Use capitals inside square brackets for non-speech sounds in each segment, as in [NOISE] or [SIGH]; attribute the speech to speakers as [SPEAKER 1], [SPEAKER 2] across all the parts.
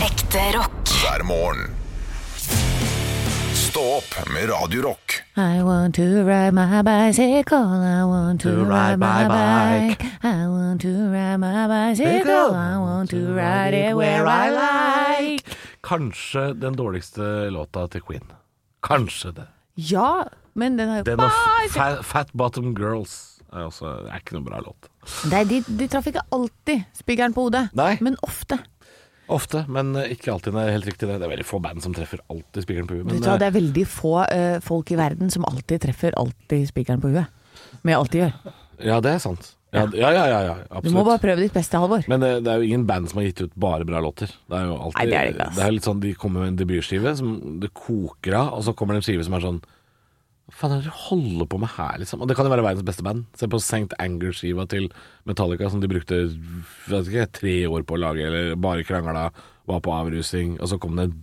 [SPEAKER 1] Ekte rock.
[SPEAKER 2] hver morgen. Stå opp med Radio Rock.
[SPEAKER 3] I want to ride my bicycle. I want to,
[SPEAKER 4] To
[SPEAKER 3] ride,
[SPEAKER 4] ride
[SPEAKER 3] my
[SPEAKER 4] my
[SPEAKER 3] bike. I want to ride my bicycle. I want to ride it where I like.
[SPEAKER 4] Kanskje den dårligste låta til Queen. Kanskje det.
[SPEAKER 3] Ja, men den har jo
[SPEAKER 4] Den og F- Fat, fat Bottom Girls er, også, det er ikke noen bra låt.
[SPEAKER 3] Nei, de, de traff ikke alltid spikeren på hodet,
[SPEAKER 4] Nei.
[SPEAKER 3] men ofte.
[SPEAKER 4] Ofte, men eh, ikke alltid. Det er helt riktig. Det Det er veldig få band som treffer alltid spikeren på huet.
[SPEAKER 3] Vet
[SPEAKER 4] Men
[SPEAKER 3] du hva,
[SPEAKER 4] eh,
[SPEAKER 3] det er veldig få eh, folk i verden som alltid treffer alltid spikeren på huet. Med alt de gjør.
[SPEAKER 4] ja, det er sant. Ja, ja, ja. ja, ja
[SPEAKER 3] Du må bare
[SPEAKER 4] absolutt.
[SPEAKER 3] prøve ditt beste, Halvor.
[SPEAKER 4] Men det, det er jo ingen band som har gitt ut bare bra låter. Det er jo alltid
[SPEAKER 3] Nei, det er det ikke, ass.
[SPEAKER 4] er litt sånn de kommer med en debutskive som det koker av, og så kommer det en skive som er sånn Hva faen er det dere holder på med her, liksom? Og det kan jo være verdens beste band. Se på St. Anger-skiva til Metallica som de brukte jeg vet ikke, tre år på å lage, eller bare krangla, var på avrusing, og så kom det en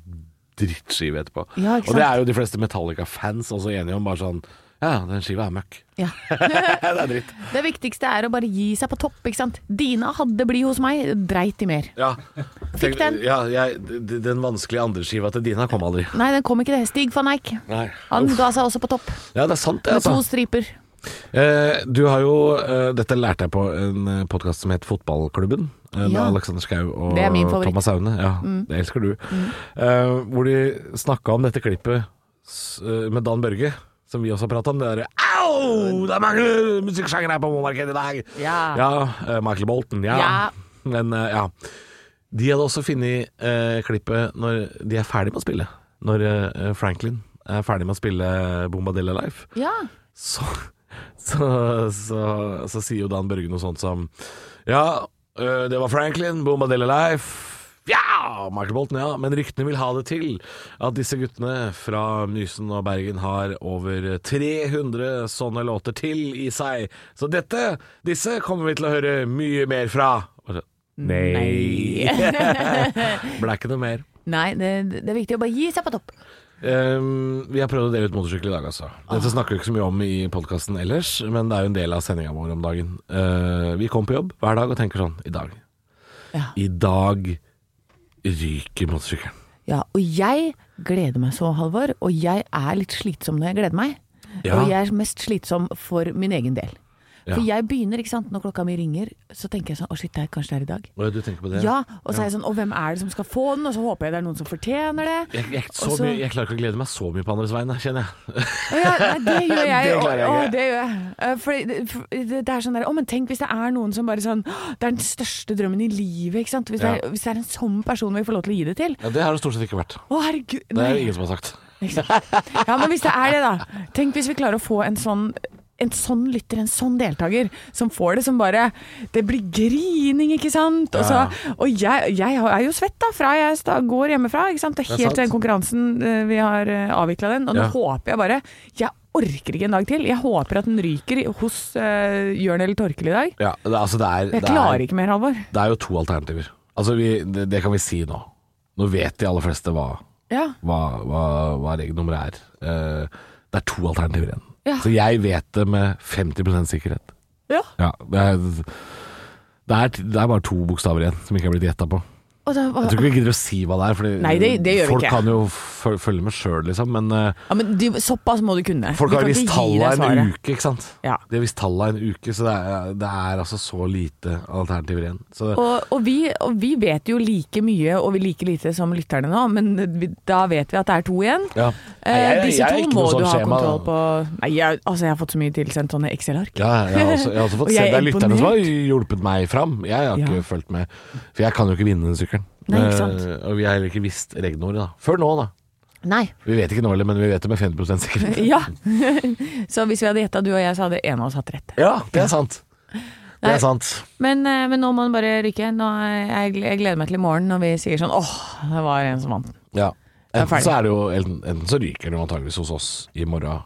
[SPEAKER 4] drittskive etterpå.
[SPEAKER 3] Ja, ikke
[SPEAKER 4] og det
[SPEAKER 3] sant?
[SPEAKER 4] er jo de fleste Metallica-fans også enige om, bare sånn Ja, den skiva er møkk. [LAUGHS]
[SPEAKER 3] [LAUGHS] Ja.
[SPEAKER 4] det er dritt.
[SPEAKER 3] Det viktigste er å bare gi seg på topp, ikke sant. Dina hadde bli hos meg, dreit i mer.
[SPEAKER 4] Ja.
[SPEAKER 3] Fikk den.
[SPEAKER 4] Ja, jeg, d- den vanskelige andreskiva til Dina kom aldri.
[SPEAKER 3] Nei, den kom ikke det. Stig van Eijk.
[SPEAKER 4] Nei.
[SPEAKER 3] Han
[SPEAKER 4] Uff.
[SPEAKER 3] ga seg også på topp,
[SPEAKER 4] Ja, det er sant det,
[SPEAKER 3] med to
[SPEAKER 4] altså.
[SPEAKER 3] striper.
[SPEAKER 4] Eh, du har jo eh, Dette lærte jeg på en eh, podkast som het Fotballklubben. Eh, med
[SPEAKER 3] Ja.
[SPEAKER 4] Alexander Schou og
[SPEAKER 3] Det er min favoritt. Mm.
[SPEAKER 4] Thomas Aune. Ja, det elsker du. Eh, hvor de snakka om dette klippet s- eh, med Dan Børge. Som vi også har prata om. Det derre Au! Det er mange musikksjangere her på Momarkedet i dag!
[SPEAKER 3] Ja.
[SPEAKER 4] eh, Michael Bolton, ja.
[SPEAKER 3] Ja.
[SPEAKER 4] Men eh, ja. De hadde også funnet eh, klippet når de er ferdig med å spille. Når eh, Franklin er ferdig med å spille Bombadilla Life
[SPEAKER 3] Ja.
[SPEAKER 4] så, så, så, så sier jo Dan Børge noe sånt som Ja, øh, det var Franklin, Bombadilla Life. Ja! Michael Bolton, ja. Men ryktene vil ha det til at disse guttene fra Mysen og Bergen har over 300 sånne låter til i seg. Så dette, disse kommer vi til å høre mye mer fra. Og så, Nei. [LAUGHS] Ble ikke noe mer.
[SPEAKER 3] Nei, det, det er viktig å bare gi seg på topp.
[SPEAKER 4] Ehm, vi har prøvd å dele ut motorsykkel i dag, altså.
[SPEAKER 3] Ah.
[SPEAKER 4] Dette snakker vi ikke så mye om i podkasten ellers, men det er jo en del av sendinga vår om dagen. Eh, vi kommer på jobb hver dag og tenker sånn I dag.
[SPEAKER 3] Ja.
[SPEAKER 4] I dag ryker motorsykkelen.
[SPEAKER 3] Ja, og jeg gleder meg så, Halvor, og jeg er litt slitsom når jeg gleder meg.
[SPEAKER 4] Ja.
[SPEAKER 3] Og jeg er mest slitsom for min egen del. For
[SPEAKER 4] Ja.
[SPEAKER 3] jeg begynner, ikke sant, når klokka mi ringer, så tenker jeg sånn, å shit, det er kanskje det er i dag.
[SPEAKER 4] Å, ja, Du tenker på det?
[SPEAKER 3] Ja, og så er jeg sånn, og hvem er det som skal få den, og så håper jeg det er noen som fortjener det.
[SPEAKER 4] Jeg, jeg, er ikke så
[SPEAKER 3] Og så-
[SPEAKER 4] mye, jeg klarer ikke å glede meg så mye på andres vegne, kjenner jeg.
[SPEAKER 3] Å Ja, nei, det
[SPEAKER 4] [LAUGHS]
[SPEAKER 3] gjør jeg.
[SPEAKER 4] Det klarer jeg
[SPEAKER 3] Å,
[SPEAKER 4] ikke.
[SPEAKER 3] det gjør jeg. Eh, Fordi det, for det det er sånn der, å, men tenk hvis det er noen som bare sånn, «Åh, det er den største drømmen i livet, ikke sant? Hvis, det
[SPEAKER 4] Ja.
[SPEAKER 3] er, hvis det er en sånn person vi får lov til å gi det til.
[SPEAKER 4] Ja, det har det stort sett ikke vært.
[SPEAKER 3] Å, herregud.
[SPEAKER 4] Det
[SPEAKER 3] Nei.
[SPEAKER 4] er jo ingen som har sagt.
[SPEAKER 3] Ja, men hvis det er det, da. Tenk hvis vi klarer å få en sånn en sånn lytter, en sånn deltaker, som får det som bare Det blir grining, ikke sant? Og, så, og jeg, jeg er jo svett, da, fra jeg sta- går hjemmefra. ikke sant? Det er
[SPEAKER 4] er
[SPEAKER 3] helt til den
[SPEAKER 4] sant.
[SPEAKER 3] konkurransen eh, vi har avvikla den. Og nå
[SPEAKER 4] Ja.
[SPEAKER 3] håper jeg bare Jeg orker ikke en dag til. Jeg håper at den ryker i- hos uh, Jørn eller Torkel i dag.
[SPEAKER 4] Ja, det, er- altså det er,
[SPEAKER 3] Jeg
[SPEAKER 4] det er,
[SPEAKER 3] klarer ikke mer, Halvor.
[SPEAKER 4] det er jo to alternativer. Altså vi, det, det kan vi si nå. Nå vet de aller fleste hva
[SPEAKER 3] Ja.
[SPEAKER 4] hva, hva, hva regelnummeret er. Eh, det er to alternativer igjen.
[SPEAKER 3] Ja.
[SPEAKER 4] Så jeg vet det med 50 sikkerhet.
[SPEAKER 3] ja.
[SPEAKER 4] Ja, det, er, det, er, det er bare to bokstaver igjen som ikke er blitt gjetta på.
[SPEAKER 3] Og da,
[SPEAKER 4] Jeg tror ikke vi gidder å si hva det er, for
[SPEAKER 3] Nei, det- det gjør vi
[SPEAKER 4] folk
[SPEAKER 3] ikke.
[SPEAKER 4] kan jo føl- følge med sjøl, liksom. Men eh,
[SPEAKER 3] ja, men de, såpass må du kunne.
[SPEAKER 4] folk
[SPEAKER 3] Vi
[SPEAKER 4] har
[SPEAKER 3] kan
[SPEAKER 4] visst
[SPEAKER 3] ikke gi
[SPEAKER 4] talla
[SPEAKER 3] deg svaret.
[SPEAKER 4] en uke, ikke sant.
[SPEAKER 3] Ja.
[SPEAKER 4] De har visst talla en uke, så det er, det er altså så lite alternativer igjen. Så det,
[SPEAKER 3] Og, og, vi, og vi vet jo like mye og vi like lite som lytterne nå, men vi, da vet vi at det er to igjen.
[SPEAKER 4] ja.
[SPEAKER 3] Eh,
[SPEAKER 4] Nei, jeg-
[SPEAKER 3] Disse
[SPEAKER 4] jeg er
[SPEAKER 3] to
[SPEAKER 4] ikke
[SPEAKER 3] må
[SPEAKER 4] noe
[SPEAKER 3] du
[SPEAKER 4] sånn
[SPEAKER 3] ha
[SPEAKER 4] skjema, da.
[SPEAKER 3] kontroll på. Nei, jeg, altså jeg har fått så mye tilsendt sånne Excel-ark.
[SPEAKER 4] Ja, jeg har også, jeg har også
[SPEAKER 3] [LAUGHS]
[SPEAKER 4] fått
[SPEAKER 3] Og
[SPEAKER 4] se
[SPEAKER 3] jeg er
[SPEAKER 4] det er lytterne som har
[SPEAKER 3] imponert.
[SPEAKER 4] hjulpet meg fram. Jeg har ikke
[SPEAKER 3] Ja.
[SPEAKER 4] fulgt med, for jeg kan jo ikke vinne den sykkelen.
[SPEAKER 3] Nei, ikke sant.
[SPEAKER 4] Eh, og vi har heller ikke visst regnordet, da. Før nå, da.
[SPEAKER 3] Nei.
[SPEAKER 4] Vi vet ikke nå heller, men vi vet det med 50
[SPEAKER 3] [LAUGHS]
[SPEAKER 4] sikkerhet.
[SPEAKER 3] Ja. [LAUGHS] så hvis vi hadde gjetta du og jeg, så hadde en av oss hatt rett.
[SPEAKER 4] [LAUGHS] Ja, det er sant. Det
[SPEAKER 3] Nei.
[SPEAKER 4] er sant.
[SPEAKER 3] Men, eh, men nå må den bare ryke. Nå er jeg, jeg gleder meg til i morgen når vi sier sånn åh, det var en som vant.
[SPEAKER 4] Ja.
[SPEAKER 3] er ferdig.
[SPEAKER 4] Enten så, er det jo, enten, enten så ryker det jo antageligvis hos oss i morgen.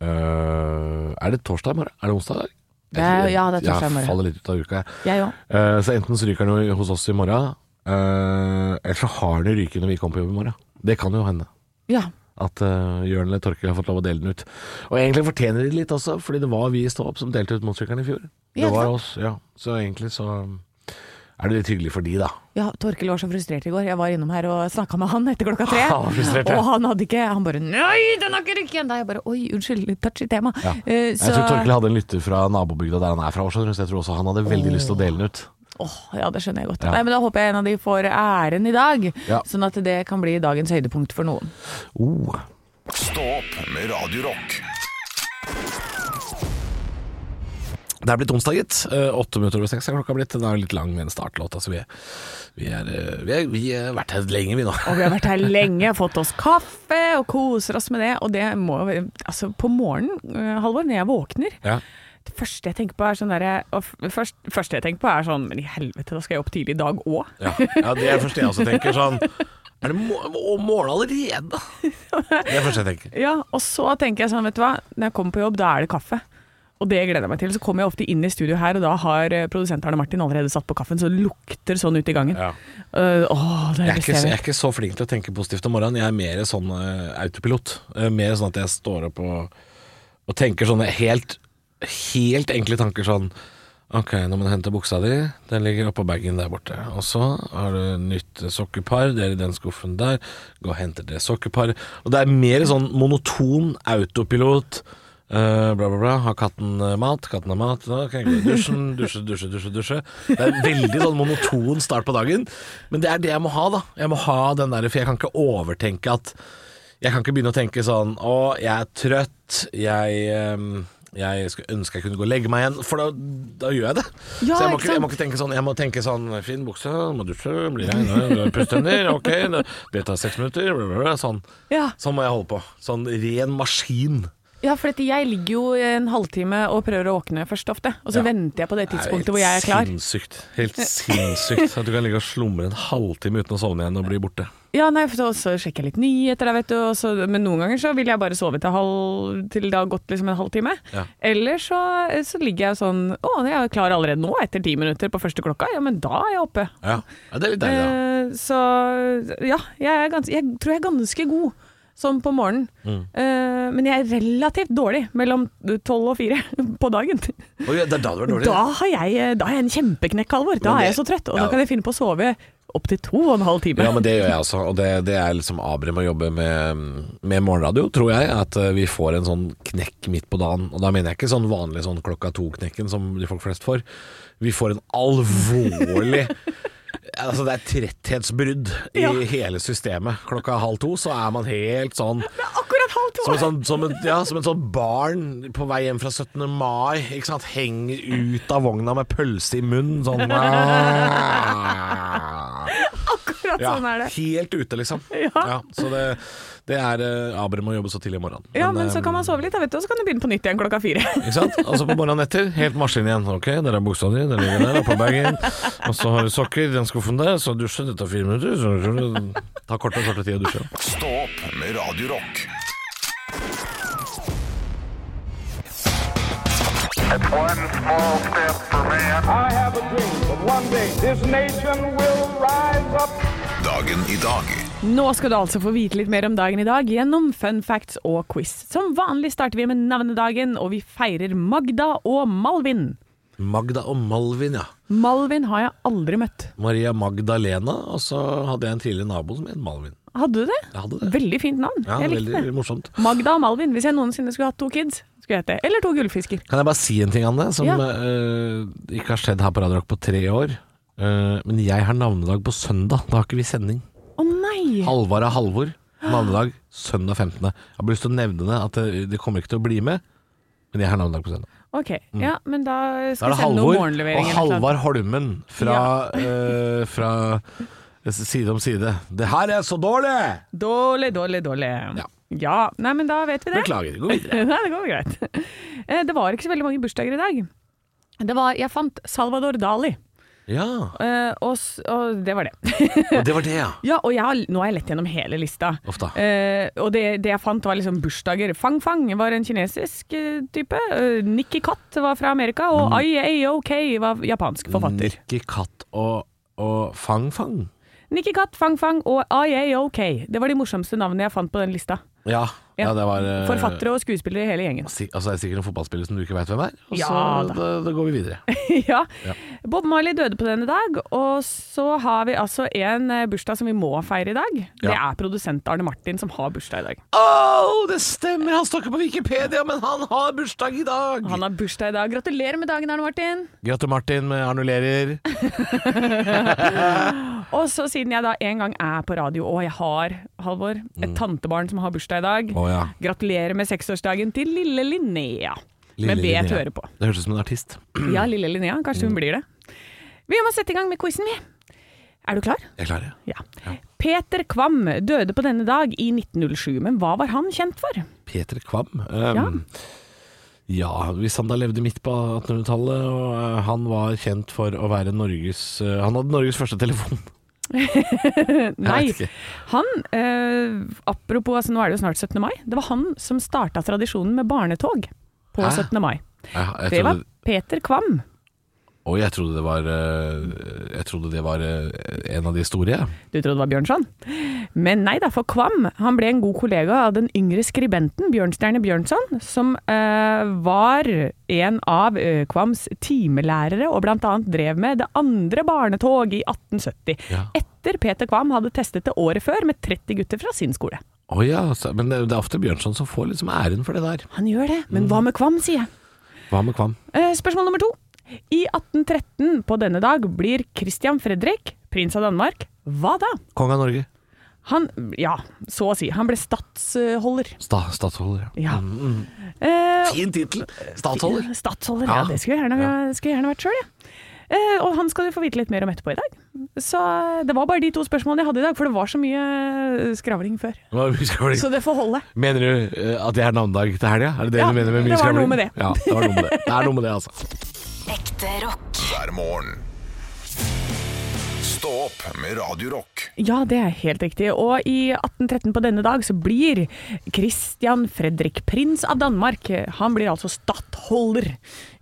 [SPEAKER 4] Eh, er det torsdag i morgen? Er det onsdag i dag?
[SPEAKER 3] Det er- ja, det er torsdag i morgen.
[SPEAKER 4] Jeg faller litt ut av uka, jeg.
[SPEAKER 3] Jeg òg.
[SPEAKER 4] Eh, så enten så ryker den jo hos oss i morgen, eh, eller så har den ryket når vi kommer på jobb i morgen. Det kan jo hende.
[SPEAKER 3] Ja.
[SPEAKER 4] At uh, Jørn eller Torkel har fått lov å dele den ut. Og egentlig fortjener de det litt også, fordi det var vi i Stå opp som delte ut motorsykkelen i fjor.
[SPEAKER 3] Ja,
[SPEAKER 4] Det var oss, ja. Så egentlig så er det litt hyggelig for de, da.
[SPEAKER 3] Ja, Torkel var så frustrert i går. Jeg var innom her og snakka med han etter klokka tre.
[SPEAKER 4] [LAUGHS] Han var frustrert, ja.
[SPEAKER 3] Og han hadde ikke Han bare 'Nei, den har ikke rykket ennå'. Jeg bare 'Oi, unnskyld, litt touchy tema'.
[SPEAKER 4] Ja.
[SPEAKER 3] Eh,
[SPEAKER 4] Jeg tror Torkel hadde en lytter fra nabobygda der han er fra, skjønner du, så jeg tror også han hadde veldig lyst til å dele den ut.
[SPEAKER 3] Åh, ja, det skjønner jeg godt.
[SPEAKER 4] Ja.
[SPEAKER 3] Nei, men Da håper jeg en av de får æren i dag,
[SPEAKER 4] Ja.
[SPEAKER 3] sånn at det kan bli dagens høydepunkt for noen.
[SPEAKER 4] Oh.
[SPEAKER 2] Stå opp med Radio Rock.
[SPEAKER 4] Det er blitt onsdag, gitt. Eh, Åtte minutter over seks er klokka blitt. Den er jo litt lang med en startlåt. Altså, vi, vi, er, eh, vi, er, vi har vært her lenge, vi nå.
[SPEAKER 3] Og vi har vært her lenge,
[SPEAKER 4] [LAUGHS]
[SPEAKER 3] fått oss kaffe og koser oss med det. Og det må jo være- Altså, på morgenen, eh, Halvor, når jeg våkner
[SPEAKER 4] Ja.
[SPEAKER 3] Det første jeg tenker på er sånn derre og f- først, første jeg tenker på er sånn Men i helvete, da skal jeg opp tidlig i dag òg.
[SPEAKER 4] Ja. ja, det er det første jeg også tenker. Sånn Er det må- å, morgen [LAUGHS] allerede? Det er det første jeg tenker.
[SPEAKER 3] Ja, og så tenker jeg sånn, vet du hva. Når jeg kommer på jobb, da er det kaffe. Og det gleder jeg meg til. Så kommer jeg ofte inn i studio her, og da har eh, produsent Arne Martin allerede satt på kaffen, så det lukter sånn ute i gangen.
[SPEAKER 4] Ja.
[SPEAKER 3] Eh, åh, det er
[SPEAKER 4] Jeg er,
[SPEAKER 3] det
[SPEAKER 4] ikke,
[SPEAKER 3] stedet.
[SPEAKER 4] så- jeg er ikke så flink til å tenke positivt om morgenen. Jeg er mer sånn eh, autopilot. Eh, mer sånn at jeg står opp og, og tenker sånne helt, helt enkle tanker sånn Ok, nå må du hente buksa di. Den ligger oppå bagen der borte. Og så har du nytt sokkepar. Det er i den skuffen der. Gå og henter det sokkeparet. Og det er mer sånn monoton autopilot. Eh, bla, bla, bla. Har katten eh, mat? Katten har mat. Da kan jeg gå i dusjen. Dusje, dusje, dusje. dusje Det er en veldig sånn monoton start på dagen. Men det er det jeg må ha, da. Jeg må ha den der, For jeg kan ikke overtenke at Jeg kan ikke begynne å tenke sånn Å, jeg er trøtt. Jeg ehm, jeg skulle ønske jeg kunne gå og legge meg igjen, for da, da gjør jeg det.
[SPEAKER 3] Ja,
[SPEAKER 4] så jeg må,
[SPEAKER 3] ikke
[SPEAKER 4] ikke, jeg må
[SPEAKER 3] sant?
[SPEAKER 4] ikke tenke sånn Jeg må tenke sånn Fin bukse, må dusje, bli rein,
[SPEAKER 3] [LAUGHS]
[SPEAKER 4] pusse tenner, ok, det- det tar seks minutter, bla, bla, bla, sånn.
[SPEAKER 3] Ja.
[SPEAKER 4] Sånn må jeg holde på. Sånn ren maskin.
[SPEAKER 3] Ja, for dette, jeg ligger jo en halvtime og prøver å våkne først ofte. Og så
[SPEAKER 4] Ja.
[SPEAKER 3] venter jeg på det tidspunktet hvor jeg er
[SPEAKER 4] Helt
[SPEAKER 3] klar.
[SPEAKER 4] Sinnssykt. Helt sinnssykt at du kan ligge og slumre en halvtime uten å sovne igjen og bli borte.
[SPEAKER 3] Ja, nei, for så, så sjekker jeg litt nyheter, da, vet du. Og så, men noen ganger så vil jeg bare sove til, halv, til det har gått liksom en halvtime.
[SPEAKER 4] Ja.
[SPEAKER 3] Eller så, så ligger jeg sånn Å, jeg er klar allerede nå, etter ti minutter på første klokka. Ja, men da er jeg oppe.
[SPEAKER 4] Ja, Det er litt deilig, da.
[SPEAKER 3] Eh, så ja, jeg, er gans, jeg tror jeg er ganske god sånn på morgenen.
[SPEAKER 4] Mm.
[SPEAKER 3] Eh, men jeg er relativt dårlig mellom tolv og fire [LAUGHS] på dagen.
[SPEAKER 4] Oi, det er da du er dårlig.
[SPEAKER 3] Da har jeg, eh, da har jeg en kjempeknekk, Halvor. Da
[SPEAKER 4] Men det-
[SPEAKER 3] er jeg så trøtt, og
[SPEAKER 4] ja.
[SPEAKER 3] da kan jeg finne på å sove opptil to og en halv time.
[SPEAKER 4] Ja, men det gjør jeg også, og det, det er liksom Abrim å jobbe med, med morgenradio, tror jeg. At eh, vi får en sånn knekk midt på dagen, og da mener jeg ikke sånn vanlig sånn klokka to-knekken som de folk flest får. Vi får en alvorlig [LAUGHS] Altså Det er tretthetsbrudd i
[SPEAKER 3] Ja.
[SPEAKER 4] hele systemet. Klokka halv to så er man helt
[SPEAKER 3] [LAUGHS]
[SPEAKER 4] sånn
[SPEAKER 3] Det er akkurat halv to!
[SPEAKER 4] Som en sånn, som en, ja, som en sånn barn på vei hjem fra 17. mai. Ikke sant? Henger ut av vogna med pølse i munnen.
[SPEAKER 3] [LAUGHS]
[SPEAKER 4] Sånn
[SPEAKER 3] [LAUGHS] Akkurat
[SPEAKER 4] ja,
[SPEAKER 3] sånn er det.
[SPEAKER 4] Helt ute, liksom.
[SPEAKER 3] [LAUGHS] Ja.
[SPEAKER 4] så det, det er eh, Abram må jobbe så tidlig i morgen.
[SPEAKER 3] Ja, men
[SPEAKER 4] eh,
[SPEAKER 3] så kan man sove litt, da, vet du, og så kan du begynne på nytt igjen klokka fire. [LAUGHS]
[SPEAKER 4] Ikke sant? Og så på morgenen etter, helt maskin igjen. Ok, der er buksa di, den ligger der oppå bagen. Og så har du sokker i den skuffen der, så dusje, det tar fire minutter. Så, så, så, tar kortere og kortere tid å dusje.
[SPEAKER 2] Stå opp med Radio Rock.
[SPEAKER 1] It's one small step for man.
[SPEAKER 5] I have a dream that one day this nation will rise up.
[SPEAKER 2] Dagen i dag
[SPEAKER 3] Nå skal du altså få vite litt mer om dagen i dag gjennom fun facts og quiz. Som vanlig starter vi med navnedagen, og vi feirer Magda og Malvin.
[SPEAKER 4] Magda og Malvin, ja.
[SPEAKER 3] Malvin har jeg aldri møtt.
[SPEAKER 4] Maria Magdalena, og så hadde jeg en tidligere nabo som het Malvin.
[SPEAKER 3] Hadde du det?
[SPEAKER 4] Jeg hadde det.
[SPEAKER 3] Veldig fint navn.
[SPEAKER 4] Ja,
[SPEAKER 3] jeg likte
[SPEAKER 4] veldig
[SPEAKER 3] det.
[SPEAKER 4] morsomt.
[SPEAKER 3] Magda og Malvin. Hvis jeg noensinne skulle hatt to kids, skulle jeg hete Eller to gullfisker.
[SPEAKER 4] Kan jeg bare si en ting, Anne, som
[SPEAKER 3] Ja.
[SPEAKER 4] eh, ikke har skjedd her på Radio Rock på tre år. Eh, men jeg har navnedag på søndag. Da har ikke vi sending.
[SPEAKER 3] Å nei!
[SPEAKER 4] Halvard er Halvor. Navnedag søndag 15. Jeg har bare lyst til å nevne det, at det, det kommer ikke til å bli med. Men jeg har navnedag på søndag.
[SPEAKER 3] Ok, ja, men da
[SPEAKER 4] Mm. Da
[SPEAKER 3] skal
[SPEAKER 4] er
[SPEAKER 3] vi sende
[SPEAKER 4] det Halvor
[SPEAKER 3] noen
[SPEAKER 4] og
[SPEAKER 3] morgenleveringer. eller noe sånt.
[SPEAKER 4] Halvard Holmen fra, eh, fra Side om side. Det her er så dårlig!
[SPEAKER 3] Dårlig, dårlig, dårlig.
[SPEAKER 4] Ja.
[SPEAKER 3] ja. Nei, men da vet vi det.
[SPEAKER 4] Beklager. Gå
[SPEAKER 3] [LAUGHS]
[SPEAKER 4] videre.
[SPEAKER 3] Nei, det går greit. Eh, Det var ikke så veldig mange bursdager i dag. Det var, jeg fant Salvador Dali,
[SPEAKER 4] Ja,
[SPEAKER 3] eh, og, s- og det var det.
[SPEAKER 4] og det var det, ja.
[SPEAKER 3] Ja, og jeg har, nå har jeg lett gjennom hele lista.
[SPEAKER 4] Uff da.
[SPEAKER 3] Eh, og det, det jeg fant var liksom bursdager. Fang Fang var en kinesisk eh, type. Eh, Nikki Katt var fra Amerika, og
[SPEAKER 4] Mm.
[SPEAKER 3] IAOK var japansk forfatter.
[SPEAKER 4] Nikki Katt og, og Fang Fang.
[SPEAKER 3] Nikki Katt, Fang Fang og IAOK. Det var de morsomste navnene jeg fant på den lista.
[SPEAKER 4] Ja, Ja, det var eh,
[SPEAKER 3] Forfattere og skuespillere i hele
[SPEAKER 4] [LAUGHS]
[SPEAKER 3] gjengen.
[SPEAKER 4] si- Altså, det er sikkert en fotballspiller som du ikke veit hvem er. Og så
[SPEAKER 3] Ja, da.
[SPEAKER 4] da. Da, går vi videre.
[SPEAKER 3] ja. Bob Marley døde på denne dag, og så har vi altså en eh, bursdag som vi må feire i dag. Det
[SPEAKER 4] Ja.
[SPEAKER 3] er produsent Arne Martin som har bursdag i dag.
[SPEAKER 4] Oh, det stemmer! Han står ikke på Wikipedia, men han har bursdag i dag!
[SPEAKER 3] Han har bursdag i dag. Gratulerer med dagen, Arne Martin!
[SPEAKER 4] Gratulerer, Martin, med annullerer.
[SPEAKER 3] Og så siden jeg da en gang er på radio, og jeg har, Halvor, et tantebarn som har bursdag i dag,
[SPEAKER 4] Mm. Å, ja.
[SPEAKER 3] gratulerer med seksårsdagen til lille Linnea. med
[SPEAKER 4] Lille
[SPEAKER 3] B-et
[SPEAKER 4] Linnea. Mm.
[SPEAKER 3] hører på.
[SPEAKER 4] Det høres ut som en artist.
[SPEAKER 3] Ja, lille Linnea. Kanskje hun blir det. Vi må sette i gang med quizen, vi. Er du klar?
[SPEAKER 4] Jeg klarer det.
[SPEAKER 3] Ja. Peter Kvam døde på denne dag i 1907, men hva var han kjent for?
[SPEAKER 4] Peter Kvam. Um, ja. hvis han da levde midt på 1800-tallet, og eh, han var kjent for å være Norges eh, Han hadde Norges første telefon. [LAUGHS]
[SPEAKER 3] Nei,
[SPEAKER 4] vet ikke.
[SPEAKER 3] han eh, Apropos, altså, nå er det jo snart 17. mai. Det var han som starta tradisjonen med barnetog på
[SPEAKER 4] Hæ?
[SPEAKER 3] 17. mai.
[SPEAKER 4] Jeg, jeg,
[SPEAKER 3] Det var
[SPEAKER 4] trodde,
[SPEAKER 3] Peter Kvam.
[SPEAKER 4] Oi, jeg trodde det var eh, Jeg trodde det var eh, en av de store, jeg.
[SPEAKER 3] Du trodde det var Bjørnson? Men nei da, for Kvam han ble en god kollega av den yngre skribenten Bjørnstjerne Bjørnson, som eh, var en av eh, Kvams timelærere og bl.a. drev med det andre barnetog i 1870.
[SPEAKER 4] Ja.
[SPEAKER 3] Etter Peter Kvam hadde testet det året før med 30 gutter fra sin skole.
[SPEAKER 4] Å ja, så- men det, det er ofte Bjørnson som får liksom æren for det der.
[SPEAKER 3] Han gjør det, men hva med Kvam, sier jeg.
[SPEAKER 4] Hva med Kvam?
[SPEAKER 3] Eh, spørsmål nummer to. I 1813 på denne dag blir Christian Fredrik, prins av Danmark, hva da?
[SPEAKER 4] Kong av Norge.
[SPEAKER 3] Han, ja, så å si. Han ble statsholder.
[SPEAKER 4] Sta, statsholder, ja.
[SPEAKER 3] Ja. Eh,
[SPEAKER 4] Fin tittel! Statsholder.
[SPEAKER 3] Statsholder, ja.
[SPEAKER 4] Ja.
[SPEAKER 3] Det skulle jeg gjerne,
[SPEAKER 4] Ja.
[SPEAKER 3] skulle jeg gjerne vært sjøl, jeg. Eh, og han skal du få vite litt mer om etterpå i dag. Så eh, det var bare de to spørsmålene jeg hadde i dag, for det var så mye eh, skravling før.
[SPEAKER 4] Hva er det?
[SPEAKER 3] Så det får holde.
[SPEAKER 4] Mener du eh, at det er navnedag til helga? Er det det
[SPEAKER 3] Ja,
[SPEAKER 4] du mener med mye
[SPEAKER 3] det var noe
[SPEAKER 4] skravling?
[SPEAKER 3] med det.
[SPEAKER 4] Ja, det var noe med det. Det er noe med det, altså.
[SPEAKER 6] Ekte rock.
[SPEAKER 2] hver morgen. Stå opp med Radio Rock.
[SPEAKER 3] Ja, det er helt riktig. Og i 1813 på denne dag så blir Christian Fredrik, prins av Danmark, eh, han blir altså stattholder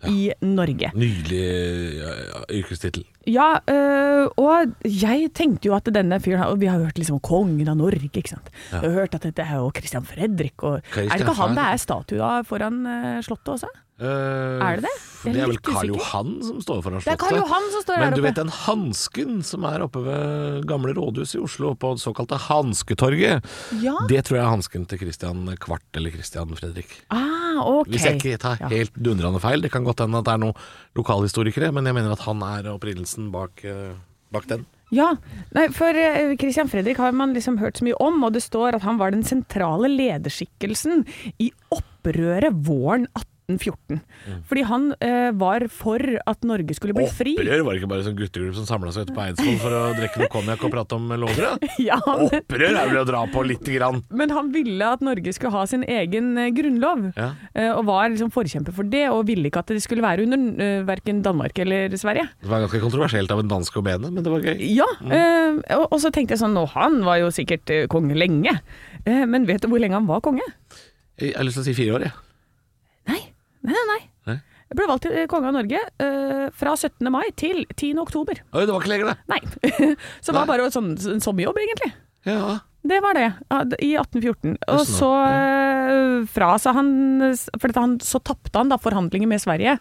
[SPEAKER 3] i Norge.
[SPEAKER 4] Nydelig eh, ja, ja, yrkestittel.
[SPEAKER 3] Ja, øh, og jeg tenkte jo at denne fyren her- og Vi har jo hørt liksom om kongen av Norge, ikke sant. Vi har hørt at dette er jo Christian Fredrik, og er det
[SPEAKER 4] Christian
[SPEAKER 3] ikke han det
[SPEAKER 4] Fredrik.
[SPEAKER 3] er statue av foran øh, slottet også? Er det det? Jeg er
[SPEAKER 4] Eh, Det er vel
[SPEAKER 3] litt usikker.
[SPEAKER 4] Karl Johan som står foran
[SPEAKER 3] Det er
[SPEAKER 4] slottet.
[SPEAKER 3] Karl Johan som står
[SPEAKER 4] Men
[SPEAKER 3] der
[SPEAKER 4] du
[SPEAKER 3] oppe.
[SPEAKER 4] vet den hansken som er oppe ved gamle rådhuset i Oslo, på det såkalte Hansketorget,
[SPEAKER 3] Ja.
[SPEAKER 4] det tror jeg er hansken til Christian Kvart eller Christian Fredrik.
[SPEAKER 3] Ah, ok.
[SPEAKER 4] Hvis jeg ikke tar
[SPEAKER 3] Ja.
[SPEAKER 4] helt dundrende feil, det kan godt hende at det er noen lokalhistorikere, men jeg mener at han er opprinnelsen bak, eh, bak den.
[SPEAKER 3] Ja, Nei, for eh, Christian Fredrik har man liksom hørt så mye om, og det står at han var den sentrale lederskikkelsen i opprøret våren 1814.
[SPEAKER 4] Mm.
[SPEAKER 3] Fordi han eh, var for at Norge skulle bli fri.
[SPEAKER 4] Opprør var det ikke bare sånn guttegruppe som samla seg ute på Eidsvoll for å drikke noe konjakk og prate om lover? da?
[SPEAKER 3] [LAUGHS] [LAUGHS] Ja, men,
[SPEAKER 4] Opprør er vel å dra på lite grann.
[SPEAKER 3] men han ville at Norge skulle ha sin egen eh, grunnlov,
[SPEAKER 4] Ja.
[SPEAKER 3] eh, og var liksom forkjemper for det, og ville ikke at det skulle være under eh, verken Danmark eller Sverige.
[SPEAKER 4] Det var ganske kontroversielt av en danske å mene, men det var gøy.
[SPEAKER 3] Ja, eh, og, og så tenkte jeg sånn, nå han var jo sikkert eh, konge lenge, eh, men vet du hvor lenge han var konge?
[SPEAKER 4] Jeg har lyst til å si fire år, jeg.
[SPEAKER 3] Nei, nei, nei. nei.
[SPEAKER 4] Nei.
[SPEAKER 3] Jeg ble valgt til eh, konge av Norge eh, fra 17. mai til 10. oktober.
[SPEAKER 4] Oi, det var ikke lenger, det.
[SPEAKER 3] Nei. [LAUGHS] så det var bare en sånn, en sommerjobb, egentlig.
[SPEAKER 4] Ja.
[SPEAKER 3] Det var det, ja, d- i 1814. Og
[SPEAKER 4] Sånn,
[SPEAKER 3] så eh, fra seg han For dette, han, så tapte han da forhandlinger med Sverige,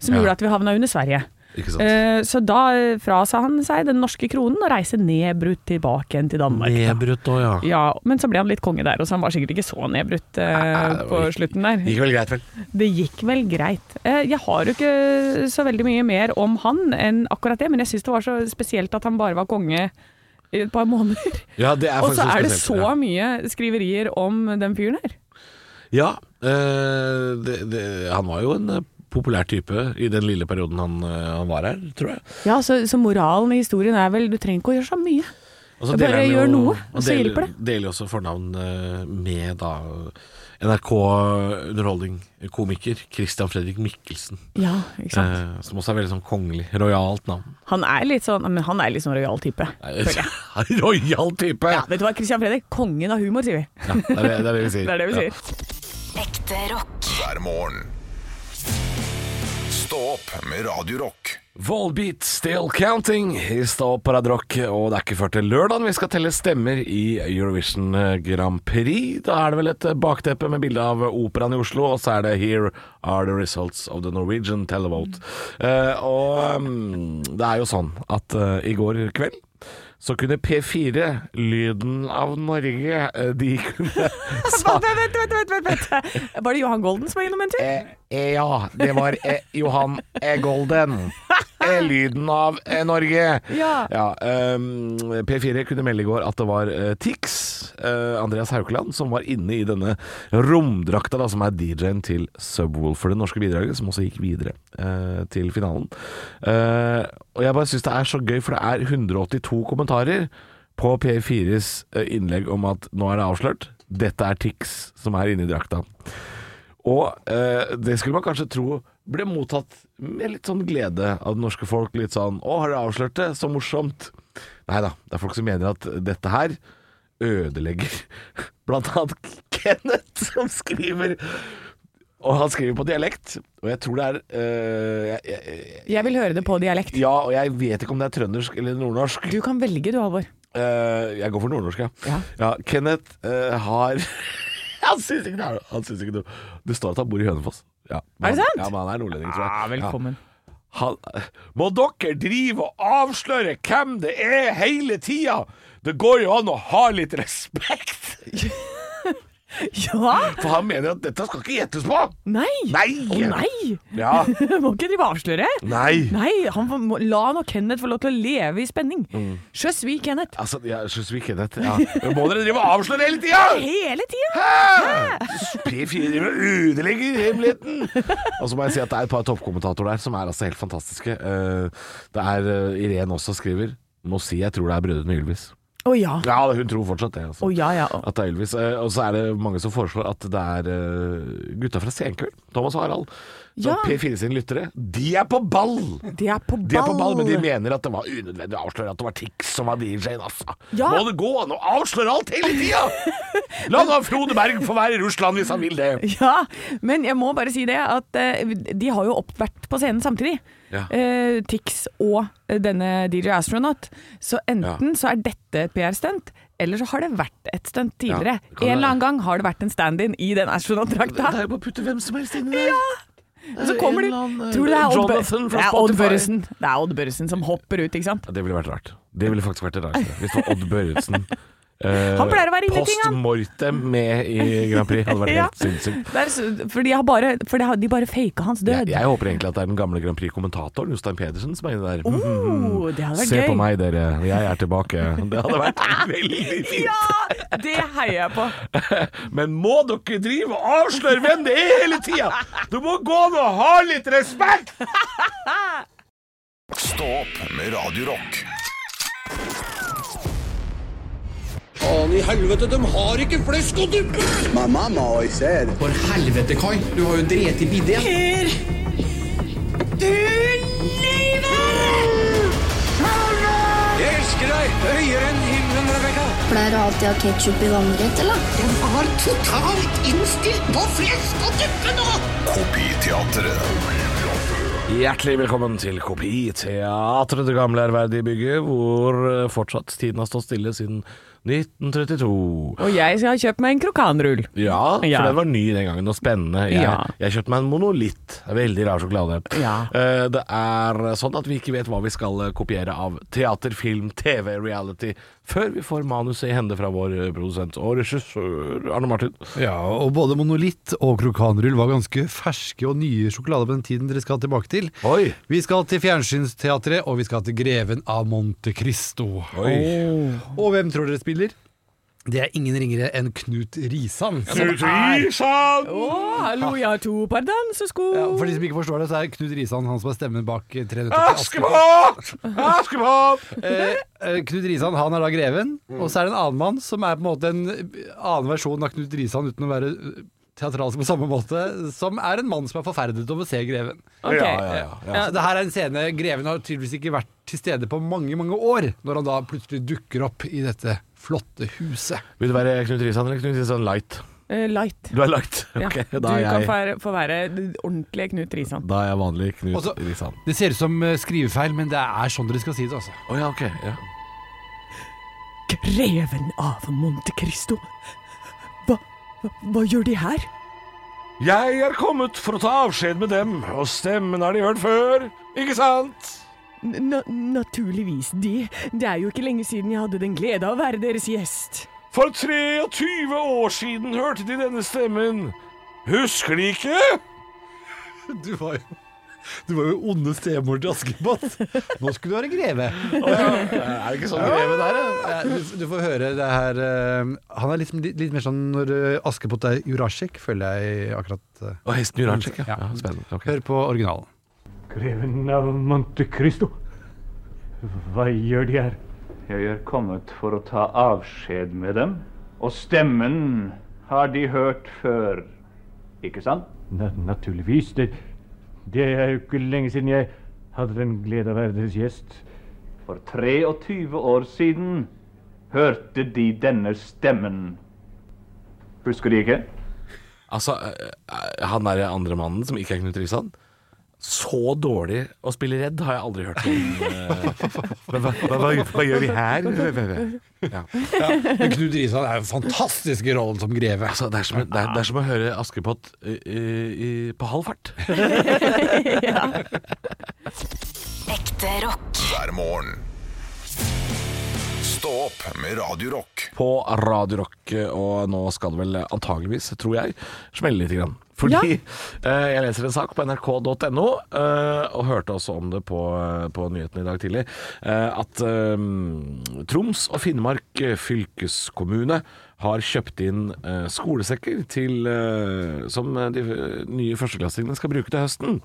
[SPEAKER 3] som
[SPEAKER 4] Ja.
[SPEAKER 3] gjorde at vi havna under Sverige.
[SPEAKER 4] Ikke sant.
[SPEAKER 3] Eh, så da eh, frasa han seg den norske kronen og reiste nedbrutt tilbake igjen til Danmark. da.
[SPEAKER 4] Nedbrutt òg, ja.
[SPEAKER 3] Ja, men så ble han litt konge der, og så han var sikkert ikke så nedbrutt eh,
[SPEAKER 4] det
[SPEAKER 3] på
[SPEAKER 4] var ikke-
[SPEAKER 3] slutten der.
[SPEAKER 4] Gikk vel greit, vel.
[SPEAKER 3] Det gikk vel greit. Eh, Jeg har jo ikke så veldig mye mer om han enn akkurat det, men jeg syns det var så spesielt at han bare var konge i et par måneder.
[SPEAKER 4] Ja, det er
[SPEAKER 3] Og
[SPEAKER 4] faktisk
[SPEAKER 3] så
[SPEAKER 4] litt
[SPEAKER 3] er det
[SPEAKER 4] spesielt,
[SPEAKER 3] så
[SPEAKER 4] ja.
[SPEAKER 3] mye skriverier om den fyren her.
[SPEAKER 4] Ja. eh, det, det, han var jo en eh, populær type i den lille perioden han, eh, han var her, tror jeg.
[SPEAKER 3] Ja, så, så moralen i historien er vel du trenger ikke å gjøre så mye.
[SPEAKER 4] Og så
[SPEAKER 3] Det bare
[SPEAKER 4] deler han
[SPEAKER 3] gjør noe, og så
[SPEAKER 4] deler-
[SPEAKER 3] hjelper det.
[SPEAKER 4] Deler jo også fornavn eh, med da NRK Underholdning komiker Christian Fredrik Mikkelsen.
[SPEAKER 3] Ja, ikke sant.
[SPEAKER 4] eh, som også er veldig sånn kongelig, rojalt navn.
[SPEAKER 3] Han er litt sånn, men han er litt sånn rojal
[SPEAKER 4] [LAUGHS]
[SPEAKER 3] type. føler jeg.
[SPEAKER 4] Rojal type!
[SPEAKER 3] Ja, vet du hva, Christian Fredrik, kongen av humor, sier vi.
[SPEAKER 4] Ja, det, er det, det er det vi
[SPEAKER 3] [LAUGHS]
[SPEAKER 4] sier.
[SPEAKER 3] Det er det vi
[SPEAKER 4] Ja.
[SPEAKER 3] sier.
[SPEAKER 6] Ekte rock.
[SPEAKER 2] hver morgen. Stå opp med Radio Rock.
[SPEAKER 4] Volbeat Still Counting i Stå på Radio Rock, og det er ikke før til lørdagen vi skal telle stemmer i Eurovision Grand Prix. Da er det vel et bakteppe med bilde av operaen i Oslo, og så er det 'Here are the results of the Norwegian televote'. Eh, og mm, det er jo sånn at eh, i går kveld så kunne P4, Lyden av Norge, eh, de kunne sa-
[SPEAKER 3] Vent, vent, vent, vent, vent, vent. Var det Johan Golden som var innom en tur?
[SPEAKER 4] Eh, eh, ja, det var eh, Johan eh, Golden. Eh, lyden av eh, Norge.
[SPEAKER 3] Ja.
[SPEAKER 4] ehm, P4 kunne melde i går at det var eh, Tix, eh, Andreas Haukeland, som var inne i denne romdrakta, da, som er DJ-en til Subwoolfer, det norske bidraget, som også gikk videre eh, til finalen. Eh, og jeg bare syns det er så gøy, for det er 182 kommentarer på P4s eh, innlegg om at nå er det avslørt. Dette er Tix som er inne i drakta. Og eh, det skulle man kanskje tro ble mottatt med litt sånn glede av det norske folk. Litt sånn 'Å, har dere avslørt det? Så morsomt'. Nei da, det er folk som mener at dette her ødelegger [LAUGHS] blant annet Kenneth, som skriver Og han skriver på dialekt, og jeg tror det er eh, jeg, jeg,
[SPEAKER 3] Jeg vil høre det på dialekt.
[SPEAKER 4] Ja, og jeg vet ikke om det er trøndersk eller nordnorsk.
[SPEAKER 3] Du kan velge du, Halvor.
[SPEAKER 4] Eh, jeg går for nordnorsk, ja.
[SPEAKER 3] Ja.
[SPEAKER 4] Kenneth eh, har [LAUGHS] Han syns ikke det er han syns ikke det. Det står at han bor i Hønefoss. Ja, men
[SPEAKER 3] Er det
[SPEAKER 4] han-
[SPEAKER 3] sant? Ah,
[SPEAKER 4] Ja, men han er nordlending, tror jeg.
[SPEAKER 3] velkommen.
[SPEAKER 4] Ja. Han, må dere drive og avsløre hvem det er hele tida? Det går jo an å ha litt respekt!
[SPEAKER 3] [LAUGHS] Ja!
[SPEAKER 4] For han mener at dette skal ikke gjettes på!
[SPEAKER 3] Nei!
[SPEAKER 4] Nei!
[SPEAKER 3] Å nei! [LAUGHS]
[SPEAKER 4] Ja.
[SPEAKER 3] Må ikke drive og avsløre.
[SPEAKER 4] Nei.
[SPEAKER 3] Nei, han får, må, la nå Kenneth få lov til å leve i spenning.
[SPEAKER 4] Mm.
[SPEAKER 3] Sjøs vi, Kenneth.
[SPEAKER 4] Altså, jeg syns vi Kenneth ja. Må dere drive og avsløre hele tida?
[SPEAKER 3] Hele tida!
[SPEAKER 4] Hæ? P4 driver og ødelegger hemmeligheten! Og så må jeg si at det er et par toppkommentatorer der som er altså helt fantastiske. Eh, Det er eh, Irene også skriver Må si jeg tror det er brødrene Ylvis.
[SPEAKER 3] Å ja. Å
[SPEAKER 4] Ja, hun tror fortsatt det. Altså.
[SPEAKER 3] ja, ja.
[SPEAKER 4] At det er Ylvis. Eh, Og så er det mange som foreslår at det er eh, gutta fra Senkveld. Thomas og Harald. Så
[SPEAKER 3] Ja.
[SPEAKER 4] P4 sine lyttere, de er på ball!
[SPEAKER 3] De er på ball.
[SPEAKER 4] De er på ball, men de mener at det var unødvendig å avsløre at det var Tix som var DJ-en, altså.
[SPEAKER 3] Ja.
[SPEAKER 4] Må det gå an å avsløre alt hele tida?! La nå Frode Berg få være i Russland hvis han vil det.
[SPEAKER 3] [LAUGHS] Ja, men jeg må bare si det at eh, de har jo opp, vært på scenen samtidig.
[SPEAKER 4] Ja.
[SPEAKER 3] Eh, Tix og eh, denne DJ Astronaut. Så enten så er dette et PR-stunt, eller så har det vært et stunt tidligere.
[SPEAKER 4] det
[SPEAKER 3] en
[SPEAKER 4] kan være.
[SPEAKER 3] eller annen gang har det vært en stand-in i den astronautdrakta.
[SPEAKER 4] jo bare å putte hvem som helst inn i det. Ja.
[SPEAKER 3] Så kommer de Tror du det er Odd, Bør-
[SPEAKER 4] Jonathan
[SPEAKER 3] det er
[SPEAKER 4] fra
[SPEAKER 3] Odd
[SPEAKER 4] Spotify.
[SPEAKER 3] Børresen? Det er Odd Børresen som hopper ut, ikke sant.
[SPEAKER 4] Ja, det ville vært rart. Det ville faktisk vært det rareste. Hvis det var Odd
[SPEAKER 3] [LAUGHS]
[SPEAKER 4] Børresen. eh,
[SPEAKER 3] Han pleier å være inne i ting,
[SPEAKER 4] Post
[SPEAKER 3] han.
[SPEAKER 4] mortem med i Grand Prix hadde vært
[SPEAKER 3] Ja.
[SPEAKER 4] helt sinnssykt.
[SPEAKER 3] Det er, så- for de har bare, for de har- de bare faka hans
[SPEAKER 4] Jeg,
[SPEAKER 3] død.
[SPEAKER 4] jeg håper egentlig at det er den gamle Grand Prix-kommentatoren Jostein Pedersen som er inne der.
[SPEAKER 3] Oh, det hadde vært
[SPEAKER 4] Se
[SPEAKER 3] gøy.
[SPEAKER 4] på meg, dere. Jeg er tilbake. Det hadde vært veldig fint.
[SPEAKER 3] Ja, det heier jeg på.
[SPEAKER 4] Men må dere drive og avsløre hvem det er hele tida? Det må gå an å ha litt respekt!
[SPEAKER 2] Stå opp med Radio Rock.
[SPEAKER 7] Faen i helvete, de har ikke flesk og duppe!
[SPEAKER 8] My mama always said,
[SPEAKER 7] For helvete, Kai. Du har jo drept i biddet. Per! Du lever! Jeg elsker deg høyere enn himmelen, Rebekka.
[SPEAKER 9] Pleier du alltid å ha ketsjup i vannrett, eller?
[SPEAKER 7] De var totalt innstilt på flesk og duppe nå!
[SPEAKER 2] Kopiteatret.
[SPEAKER 4] Hjertelig velkommen til Kopiteatret, det gamle ærverdige bygget, hvor eh, fortsatt tiden har stått stille siden 1932.
[SPEAKER 3] Og jeg skal kjøpe meg en krokanrull.
[SPEAKER 4] Ja, for
[SPEAKER 3] Ja.
[SPEAKER 4] den var ny den gangen, og spennende. Jeg,
[SPEAKER 3] Ja.
[SPEAKER 4] jeg kjøpte meg en monolitt. Veldig rar sjokolade.
[SPEAKER 3] Ja.
[SPEAKER 4] Eh, det er sånn at vi ikke vet hva vi skal eh, kopiere av teater, film, TV, reality, før vi får manuset i hende fra vår eh, produsent og regissør Arne Martin.
[SPEAKER 10] Ja, og både monolitt og krokanrull var ganske ferske og nye sjokolader på den tiden dere skal tilbake til.
[SPEAKER 4] Oi.
[SPEAKER 10] Vi skal til Fjernsynsteatret, og vi skal til Greven av Monte Cristo. Og hvem tror dere spiller? Det er ingen ringere enn Knut Risan.
[SPEAKER 3] Å, hallo, jeg har to par dansesko.
[SPEAKER 10] Ja, for de som ikke forstår det, så er Knut Risan han som er stemmen bak eh, 300 til Askepott.
[SPEAKER 4] Askepott! Askepott!
[SPEAKER 10] Eh, eh, Knut Risan han er da greven, og så er det en annen mann som er på en måte en eh, annen versjon av Knut Risan uten å være eh, teatralsk på samme måte, som er en mann som er forferdet over å se greven.
[SPEAKER 3] Ok.
[SPEAKER 4] Ja, ja, ja, ja.
[SPEAKER 10] Så det her er en scene Greven har tydeligvis ikke vært til stede på mange mange år, når han da plutselig dukker opp i dette flotte huset.
[SPEAKER 4] Vil det være Knut Risan eller Knut Risan Light?
[SPEAKER 3] Eh, light.
[SPEAKER 4] Du er lagt? Ok,
[SPEAKER 3] ja. Du
[SPEAKER 4] da, er
[SPEAKER 3] kan få
[SPEAKER 4] jeg,
[SPEAKER 3] være, få være den ordentlige Knut Risan.
[SPEAKER 4] da er jeg vanlig Knut
[SPEAKER 10] Også-
[SPEAKER 4] Risan.
[SPEAKER 10] Det ser ut som eh, skrivefeil, men det er sånn dere skal si det, altså.
[SPEAKER 4] Å ja, ok. Ja.
[SPEAKER 3] Greven av Monte Cristo. Hva, hva, hva gjør de her?
[SPEAKER 4] Jeg er kommet for å ta avskjed med dem, og stemmen har de hørt før, ikke sant?
[SPEAKER 3] N na- naturligvis de. Det er jo ikke lenge siden jeg hadde den glede av å være deres
[SPEAKER 4] [LAUGHS]
[SPEAKER 3] gjest.
[SPEAKER 4] For 23 år siden hørte de denne stemmen. Husker de ikke?
[SPEAKER 10] Du var jo du var jo onde stemor til Askepott. Nå skulle du være greve.
[SPEAKER 4] Er det ikke sånn
[SPEAKER 10] Greve der, ja. Du, du får høre det her eh, Han er litt, litt, litt mer sånn når eh, Askepott er Jurasjek, føler jeg akkurat. eh.
[SPEAKER 4] Og hesten gjør ansjekk, ja.
[SPEAKER 10] Ja.
[SPEAKER 4] ja. Spennende. ok.
[SPEAKER 10] Hør på originalen.
[SPEAKER 5] Greven av Monte Cristo. Hva gjør de her? Jeg er kommet for å ta avskjed med dem. Og stemmen har de hørt før. Ikke sant? naturligvis. Det, det er jo ikke lenge siden jeg hadde den glede av å være deres gjest. For 23 år siden hørte de denne stemmen. Husker de ikke?
[SPEAKER 4] Altså, eh, eh, han derre andre mannen som ikke er Knut Risan. Så dårlig å spille redd har jeg aldri hørt. [LAUGHS] Men hva, gjør vi her?
[SPEAKER 10] Men Knut Risan er jo fantastisk i rollen som greve.
[SPEAKER 4] Altså, det, er som, det, er, det er som å høre Askepott i, i, på halv fart.
[SPEAKER 6] Ekte rock.
[SPEAKER 2] hver morgen. Stå opp med Radio Rock.
[SPEAKER 4] På Radio Rock, og nå skal det vel antageligvis, tror jeg, smelle lite grann. Fordi
[SPEAKER 3] Ja.
[SPEAKER 4] eh, jeg leser en sak på nrk.no, eh, og hørte også om det på, på nyhetene i dag tidlig, eh, at eh, Troms og Finnmark eh, fylkeskommune har kjøpt inn eh, skolesekker til, eh, som de eh, nye førsteklassingene skal bruke til høsten.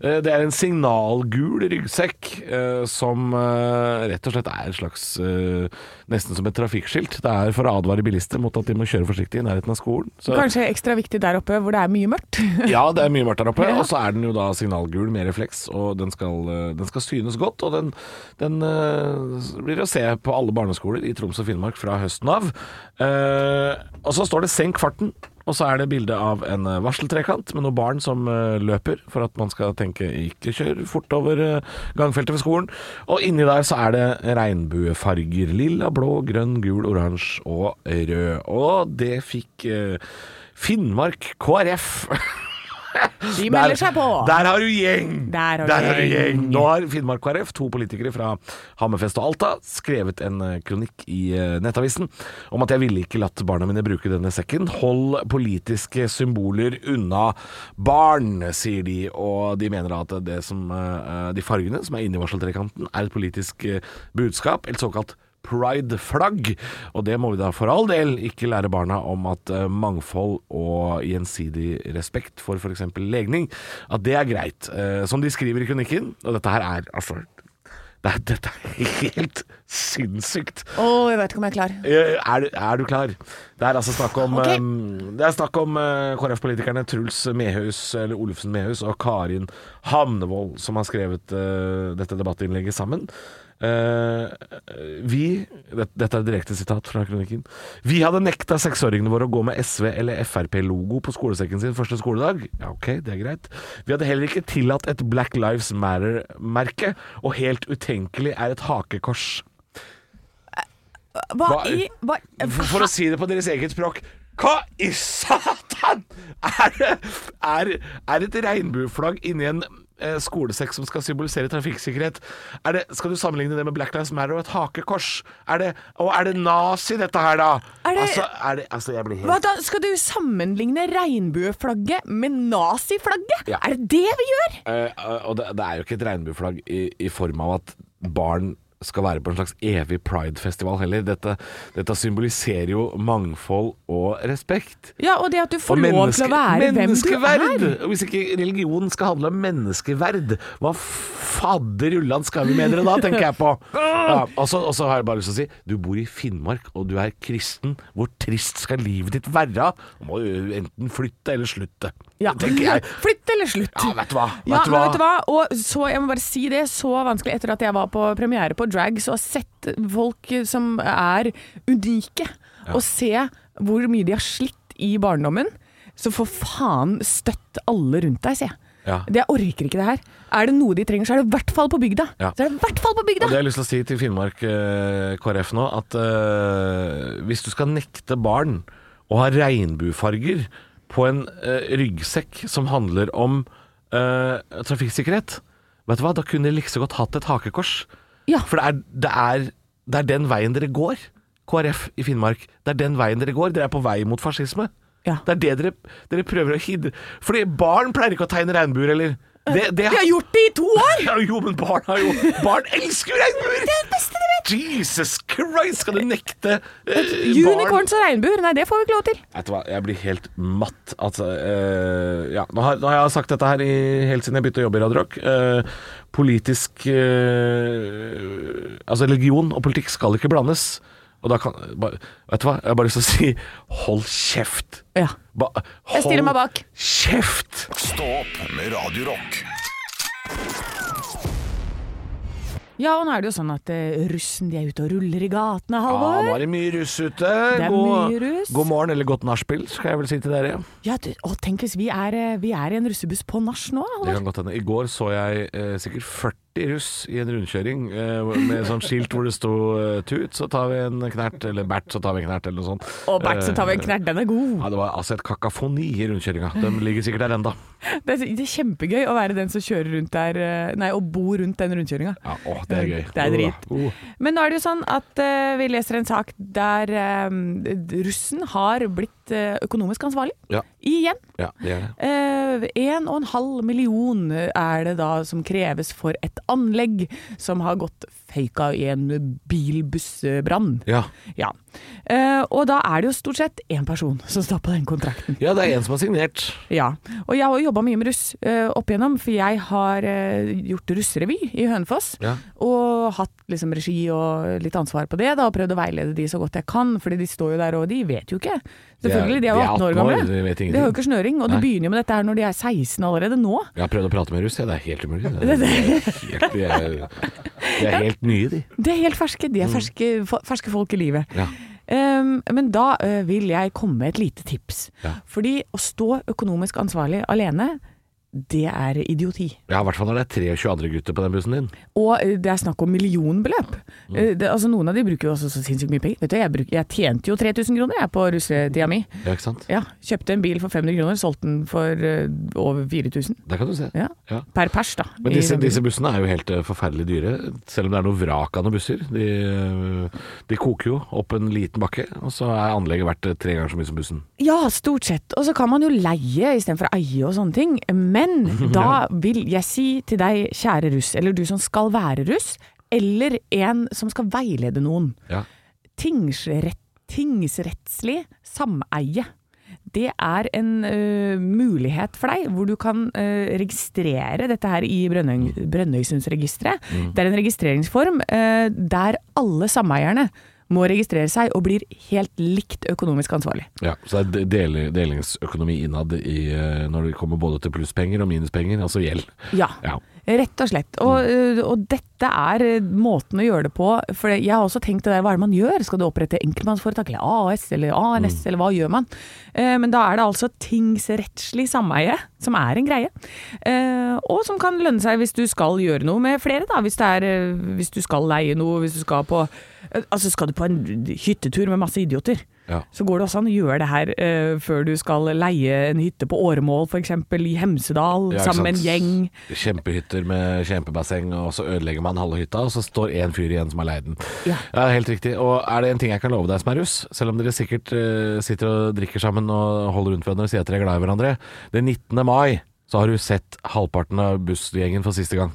[SPEAKER 4] Eh, det er en signalgul ryggsekk eh, som eh, rett og slett er et slags eh, Nesten som et trafikkskilt. Det er for å advare bilister mot at de må kjøre forsiktig i nærheten av skolen. Så-
[SPEAKER 3] Kanskje ekstra viktig der oppe hvor det er mye mørkt. [LAUGHS]
[SPEAKER 4] ja, det er mye mørkt der oppe.
[SPEAKER 3] Ja.
[SPEAKER 4] Og så er den jo da signalgul med refleks, og den skal, eh, den skal synes godt. Og den, den eh, blir å se på alle barneskoler i Troms og Finnmark fra høsten av. Eh, og så står det 'senk farten'. Og så er det bilde av en eh, varseltrekant med noen barn som eh, løper, for at man skal tenke 'ikke kjør fort over eh, gangfeltet ved skolen'. Og inni der så er det regnbuefarger. Lilla, blå, grønn, gul, oransje og rød. Og det fikk eh, Finnmark KrF
[SPEAKER 3] De melder seg på.
[SPEAKER 4] Der har du gjeng!
[SPEAKER 3] Der har du
[SPEAKER 4] gjeng! Nå har Finnmark KrF, to politikere fra Hammerfest og Alta, skrevet en eh, kronikk i eh, Nettavisen om at jeg ville ikke latt barna mine bruke denne sekken. Hold politiske symboler unna barn, sier de. Og de mener da at det som, eh, de fargene som er inni varseltrekanten, er et politisk eh, budskap, eller såkalt Pride-flagg, og det må vi da for all del ikke lære barna om at eh, mangfold og gjensidig respekt for f.eks. legning, at det er greit. Eh, Som de skriver i kronikken, og dette her er altså det er, Dette er [LAUGHS] helt sinnssykt.
[SPEAKER 3] Å, jeg vet ikke om jeg er klar.
[SPEAKER 4] Eh, Er, du- er du klar? Det er altså snakk om,
[SPEAKER 3] Ok.
[SPEAKER 4] eh, det er snakk om eh, KrF-politikerne Truls Mehus, eller Olufsen Mehus og Karin Hamnevold som har skrevet eh, dette debattinnlegget sammen. Eh, vi det- Dette er et direkte sitat fra kronikken. Vi hadde nekta seksåringene våre å gå med SV- eller Frp-logo på skolesekken sin første skoledag. Ja, ok, det er greit. Vi hadde heller ikke tillatt et Black Lives Matter-merke, og helt utenkelig er et hakekors.
[SPEAKER 3] Hva
[SPEAKER 4] Hva-
[SPEAKER 3] i hva,
[SPEAKER 4] For, for å si det på deres eget språk Hva i satan er, det- er, er et regnbueflagg inni en eh, skolesekk som skal symbolisere trafikksikkerhet? Er det, skal du sammenligne det med Black Lives Matter og et hakekors? Er det, og er det nazi, dette her, da?
[SPEAKER 3] Er det-
[SPEAKER 4] altså, er det, altså, jeg blir helt
[SPEAKER 3] hva da? Skal du sammenligne regnbueflagget med naziflagget?
[SPEAKER 4] Ja.
[SPEAKER 3] Er det det vi gjør?
[SPEAKER 4] Eh, og det, det er jo ikke et regnbueflagg i, i form av at barn skal være på en slags evig pridefestival heller. Dette, dette symboliserer jo mangfold og respekt.
[SPEAKER 3] Ja, og det at du får
[SPEAKER 4] Og
[SPEAKER 3] lov til å være hvem du
[SPEAKER 4] menneskeverd!
[SPEAKER 3] er.
[SPEAKER 4] Og Hvis ikke religion skal handle om menneskeverd, hva fadder ulland skal vi med dere da, tenker jeg på. Ja, og så og så har jeg bare lyst til å si, du bor i Finnmark og du er kristen. Hvor trist skal livet ditt være? Du må jo enten flytte eller slutte,
[SPEAKER 3] Ja.
[SPEAKER 4] tenker jeg.
[SPEAKER 3] [LAUGHS] Flytt eller slutt.
[SPEAKER 4] Ja, vet du hva? Vet
[SPEAKER 3] Ja,
[SPEAKER 4] du
[SPEAKER 3] men
[SPEAKER 4] hva?
[SPEAKER 3] vet du hva? Og så, jeg må bare si det, så vanskelig etter at jeg var på premiere på drag, så har jeg sett folk som er unike, og se hvor mye de har slitt i barndommen, så for faen støtt alle rundt deg, sier jeg.
[SPEAKER 4] Ja.
[SPEAKER 3] Det, jeg orker ikke det her. Er det noe de trenger, så er det i hvert fall på bygda.
[SPEAKER 4] Ja.
[SPEAKER 3] Så er det i hvert fall på
[SPEAKER 4] Og det
[SPEAKER 3] bygda!
[SPEAKER 4] har jeg lyst til å si til Finnmark eh, KrF nå, at eh, hvis du skal nekte barn å ha regnbuefarger på en eh, ryggsekk som handler om eh, trafikksikkerhet, vet du hva, da kunne de like så godt hatt et hakekors.
[SPEAKER 3] Ja.
[SPEAKER 4] For det er, det, er, det er den veien dere går, KrF i Finnmark. Det er den veien dere går. Dere er på vei mot fascisme.
[SPEAKER 3] Ja.
[SPEAKER 4] Det er det dere, dere prøver å hindre. Fordi barn pleier ikke å tegne regnbuer, eller? Det, det,
[SPEAKER 3] Vi har gjort det i to år! [LAUGHS]
[SPEAKER 4] ja, jo, men barn, har jo, barn elsker jo regnbuer! Det er det beste de vet! Jesus Christ, skal du nekte eh, barn
[SPEAKER 3] Unicorns og regnbuer, nei det får vi ikke lov til.
[SPEAKER 4] Vet du hva, jeg blir helt matt. Altså, eh, ja. nå, har, nå har jeg sagt dette her i, helt siden jeg begynte å jobbe i Radio Rock. Eh, politisk eh, Altså, religion og politikk skal ikke blandes. Og da kan bare, Vet du hva, jeg har bare lyst til å si hold kjeft.
[SPEAKER 3] Ja.
[SPEAKER 4] Ba,
[SPEAKER 3] Jeg stiller meg bak.
[SPEAKER 4] Kjeft!
[SPEAKER 2] Stå opp med Radio Rock.
[SPEAKER 3] ja, og nå er det jo sånn at eh, russen de er ute og ruller i gatene,
[SPEAKER 4] Ja, Ah, nå
[SPEAKER 3] Halvor.
[SPEAKER 4] er det mye russ ute.
[SPEAKER 3] er
[SPEAKER 4] god,
[SPEAKER 3] mye russ.
[SPEAKER 4] god morgen, eller godt nachspiel, skal jeg vel si til dere.
[SPEAKER 3] Ja, du, å, tenk hvis vi er, eh, vi er i en russebuss på nach nå,
[SPEAKER 4] Det
[SPEAKER 3] Halvor.
[SPEAKER 4] kan godt hende. I går så jeg eh, sikkert 40 russ i en rundkjøring eh, med sånn skilt hvor det sto eh, 'tut, så tar vi en knert', eller 'bert, så tar vi en knert', eller noe sånt.
[SPEAKER 3] Og Bert som tar med en knert, den er god.
[SPEAKER 4] Ja, det var altså et kakafoni i rundkjøringa. De ligger sikkert der enda.
[SPEAKER 3] Det er, det er kjempegøy å være den som kjører rundt der eh, Nei, å bo rundt den rundkjøringa.
[SPEAKER 4] Ja, åh, det er gøy.
[SPEAKER 3] Det er drit.
[SPEAKER 4] Uh, uh.
[SPEAKER 3] Men nå er det jo sånn at eh, vi leser en sak der eh, russen har blitt eh, økonomisk ansvarlig.
[SPEAKER 4] Ja.
[SPEAKER 3] Igjen.
[SPEAKER 4] Ja, det er det.
[SPEAKER 3] Eh, En og en halv million er det da som kreves for et anlegg som har gått føyka i en bilbussbrann.
[SPEAKER 4] Ja.
[SPEAKER 3] Ja. Eh, Og da er det jo stort sett én person som står på den kontrakten.
[SPEAKER 4] ja, det er en som har signert.
[SPEAKER 3] Ja, og jeg har jobba mye med russ eh, opp igjennom, for jeg har eh, gjort russrevy i Hønefoss.
[SPEAKER 4] Ja.
[SPEAKER 3] Og hatt liksom regi og litt ansvar på det, da, og prøvd å veilede de så godt jeg kan. Fordi de står jo der, og de vet jo ikke. Selvfølgelig, de er jo 18 år gamle.
[SPEAKER 4] de vet ingenting.
[SPEAKER 3] De har jo ikke snøring, og de
[SPEAKER 4] Nei.
[SPEAKER 3] begynner jo med dette her når de er 16 allerede nå.
[SPEAKER 4] Jeg har prøvd å prate med russ, ja, det er helt umulig.
[SPEAKER 3] [LAUGHS]
[SPEAKER 4] Det er, det er helt, de er, de er helt nye, de.
[SPEAKER 3] De er helt ferske. De er ferske, fo- ferske folk i livet.
[SPEAKER 4] Mm. Ja.
[SPEAKER 3] Um, men da ø, vil jeg komme med et lite tips.
[SPEAKER 4] Ja.
[SPEAKER 3] Fordi å stå økonomisk ansvarlig alene, det er idioti.
[SPEAKER 4] Ja, i hvert fall når det er 23 andre gutter på den bussen din.
[SPEAKER 3] Og eh, det er snakk om millionbeløp.
[SPEAKER 4] Mm.
[SPEAKER 3] Eh, Det, altså Noen av de bruker jo også så sinnssykt mye penger. Vet du, jeg, bruk, jeg tjente jo 3000 kroner jeg på russetida mi.
[SPEAKER 4] Ja, ikke sant?
[SPEAKER 3] Ja, Kjøpte en bil for 500 kroner, solgte den for eh, over 4000.
[SPEAKER 4] Der kan du se.
[SPEAKER 3] Ja.
[SPEAKER 4] Ja.
[SPEAKER 3] Per pers, da.
[SPEAKER 4] Men
[SPEAKER 3] i
[SPEAKER 4] disse,
[SPEAKER 3] den bilen.
[SPEAKER 4] disse bussene er jo helt eh, forferdelig dyre, selv om det er noe vrak av noen busser. De, eh, de koker jo opp en liten bakke, og så er anlegget verdt eh, tre ganger så mye som bussen.
[SPEAKER 3] Ja, stort sett. Og så kan man jo leie istedenfor eie og sånne ting. Men da vil jeg si til deg, kjære russ, eller du som skal være russ, eller en som skal veilede noen.
[SPEAKER 4] Ja.
[SPEAKER 3] Tingsrett, tingsrettslig sameie. Det er en ø, mulighet for deg, hvor du kan ø, registrere dette her i Brønnøy, Brønnøysundsregisteret. Det er en registreringsform ø, der alle sameierne må registrere seg og blir helt likt økonomisk ansvarlig.
[SPEAKER 4] Ja, så det er de- dele, delingsøkonomi innad i, eh, når det kommer både til plusspenger og minuspenger, altså gjeld.
[SPEAKER 3] Ja,
[SPEAKER 4] Ja.
[SPEAKER 3] rett og slett. Og,
[SPEAKER 4] Mm.
[SPEAKER 3] ø, og dette er ø, måten å gjøre det på. For jeg har også tenkt det der, hva er det man gjør? Skal du opprette enkeltmannsforetak, eller AS, eller ANS,
[SPEAKER 4] Mm.
[SPEAKER 3] eller hva gjør man? Eh, Men da er det altså tingsrettslig sameie, som er en greie. Eh, Og som kan lønne seg hvis du skal gjøre noe med flere, da. Hvis, det er, ø, hvis du skal leie noe, hvis du skal på Altså skal du på en hyttetur med masse idioter.
[SPEAKER 4] Ja.
[SPEAKER 3] Så går det også an å gjøre det her eh, før du skal leie en hytte på Åremål f.eks. i Hemsedal
[SPEAKER 4] Ja, ikke
[SPEAKER 3] sammen med en
[SPEAKER 4] sant?
[SPEAKER 3] gjeng.
[SPEAKER 4] [LAUGHS] Kjempehytter med kjempebasseng, og så ødelegger man halve hytta, og så står én fyr igjen som har leid den.
[SPEAKER 3] Ja.
[SPEAKER 4] helt riktig. Og er det en ting jeg kan love deg som er russ, selv om dere sikkert eh, sitter og drikker sammen og holder rundt hverandre og sier at dere er glad i hverandre, den 19. mai så har du sett halvparten av bussgjengen for
[SPEAKER 3] [LAUGHS]
[SPEAKER 4] siste gang.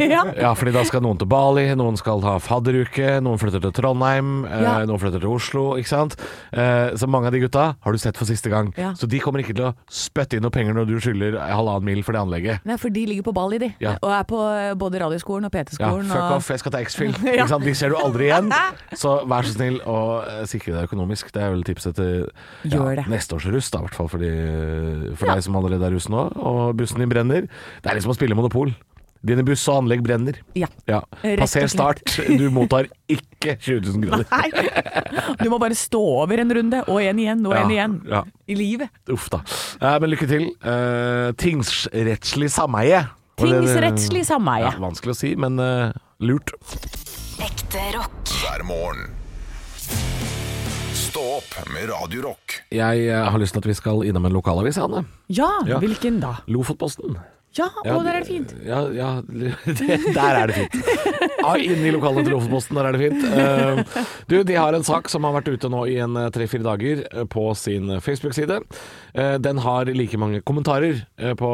[SPEAKER 3] Ja.
[SPEAKER 4] Ja, fordi da skal noen til Bali, noen skal ha fadderuke, noen flytter til Trondheim, eh,
[SPEAKER 3] Ja.
[SPEAKER 4] noen flytter til Oslo, ikke sant. Eh, så mange av de gutta har du sett for siste gang.
[SPEAKER 3] Ja.
[SPEAKER 4] Så de kommer ikke til å spytte inn noe penger når du skylder halvannen mil for det anlegget.
[SPEAKER 3] Nei, for de ligger på Bali, de.
[SPEAKER 4] Ja.
[SPEAKER 3] Og er på eh, både radioskolen og
[SPEAKER 4] Ja,
[SPEAKER 3] PT-skolen.
[SPEAKER 4] fuck
[SPEAKER 3] og...
[SPEAKER 4] off, jeg skal
[SPEAKER 3] [LAUGHS]
[SPEAKER 4] ta X-Fill.
[SPEAKER 3] Ja.
[SPEAKER 4] Ikke sant? De ser du
[SPEAKER 3] [LAUGHS]
[SPEAKER 4] aldri igjen. Så vær så snill å eh, sikre deg økonomisk. Det er vel tipset til
[SPEAKER 3] Gjør det.
[SPEAKER 4] neste års russ, da, i hvert fall for, de, for deg som allerede er russ nå, og bussen din brenner. Det er liksom å spille Monopol. Dine buss og anlegg brenner.
[SPEAKER 3] Ja. [LAUGHS]
[SPEAKER 4] Ja.
[SPEAKER 3] Rett og
[SPEAKER 4] Passer
[SPEAKER 3] slett.
[SPEAKER 4] start. Du mottar ikke 20 000 kroner.
[SPEAKER 3] [LAUGHS] Nei. Du må bare stå over en runde, og en igjen, og en
[SPEAKER 4] Ja,
[SPEAKER 3] igjen.
[SPEAKER 4] ja.
[SPEAKER 3] I livet.
[SPEAKER 4] Uff da. Eh, men lykke til. Eh, tingsrettslig sameie. Var det det-
[SPEAKER 3] Tingsrettslig sameie.
[SPEAKER 4] Ja, vanskelig å si, men eh, lurt.
[SPEAKER 6] Ekte rock.
[SPEAKER 2] hver morgen. Stå opp med Radio Rock.
[SPEAKER 4] Jeg eh, har lyst til at vi skal innom en lokalavis, Hanne.
[SPEAKER 3] Ja,
[SPEAKER 4] Ja.
[SPEAKER 3] hvilken da?
[SPEAKER 4] Lofotposten.
[SPEAKER 3] Ja,
[SPEAKER 4] Ja,
[SPEAKER 3] og der er det fint.
[SPEAKER 4] Ja, ja [LAUGHS] det, der er det fint. Ja, inne i lokalene til Lofotposten, der er det fint. Eh, du, de har en sak som har vært ute nå i en eh, tre-fire dager eh, på sin Facebook-side. Eh, den har like mange kommentarer eh, på,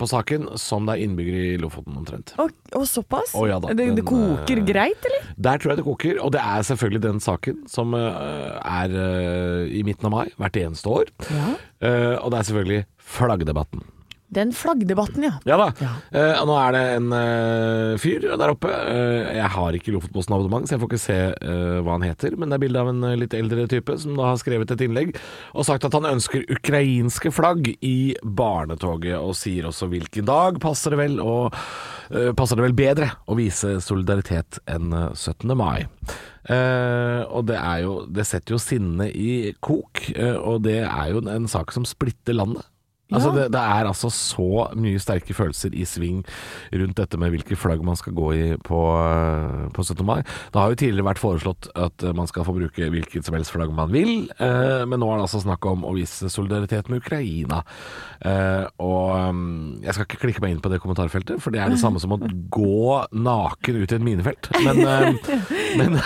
[SPEAKER 4] på saken som det er innbyggere i Lofoten, omtrent.
[SPEAKER 3] Og, og såpass?
[SPEAKER 4] Å, ja da,
[SPEAKER 3] det,
[SPEAKER 4] den,
[SPEAKER 3] det koker
[SPEAKER 4] eh,
[SPEAKER 3] greit, eller?
[SPEAKER 4] Der tror jeg det koker, og det er selvfølgelig den saken som eh, er eh, i midten av mai hvert eneste år. Eh, og det er selvfølgelig flaggdebatten.
[SPEAKER 3] Den flaggdebatten, ja.
[SPEAKER 4] Ja da. Eh, og nå er det en eh, fyr der oppe. Eh, jeg har ikke Lofotposten-abonnement, så jeg får ikke se eh, hva han heter. Men det er bilde av en eh, litt eldre type som da har skrevet et innlegg og sagt at han ønsker ukrainske flagg i barnetoget, og sier også hvilken dag passer det vel, og, eh, passer det vel bedre å vise solidaritet enn eh, 17. mai. Eh, og det, er jo, det setter jo sinnet i kok, eh, og det er jo en, en sak som splitter landet. Altså det, det er altså så mye sterke følelser i sving rundt dette med hvilke flagg man skal gå i på, eh, på 17. mai. Det har jo tidligere vært foreslått at eh, man skal få bruke hvilket som helst flagg man vil, eh, men nå er det altså snakk om å vise solidaritet med Ukraina. Eh, og eh, jeg skal ikke klikke meg inn på det kommentarfeltet, for det er det samme som å gå naken ut i et minefelt. Men, eh, men,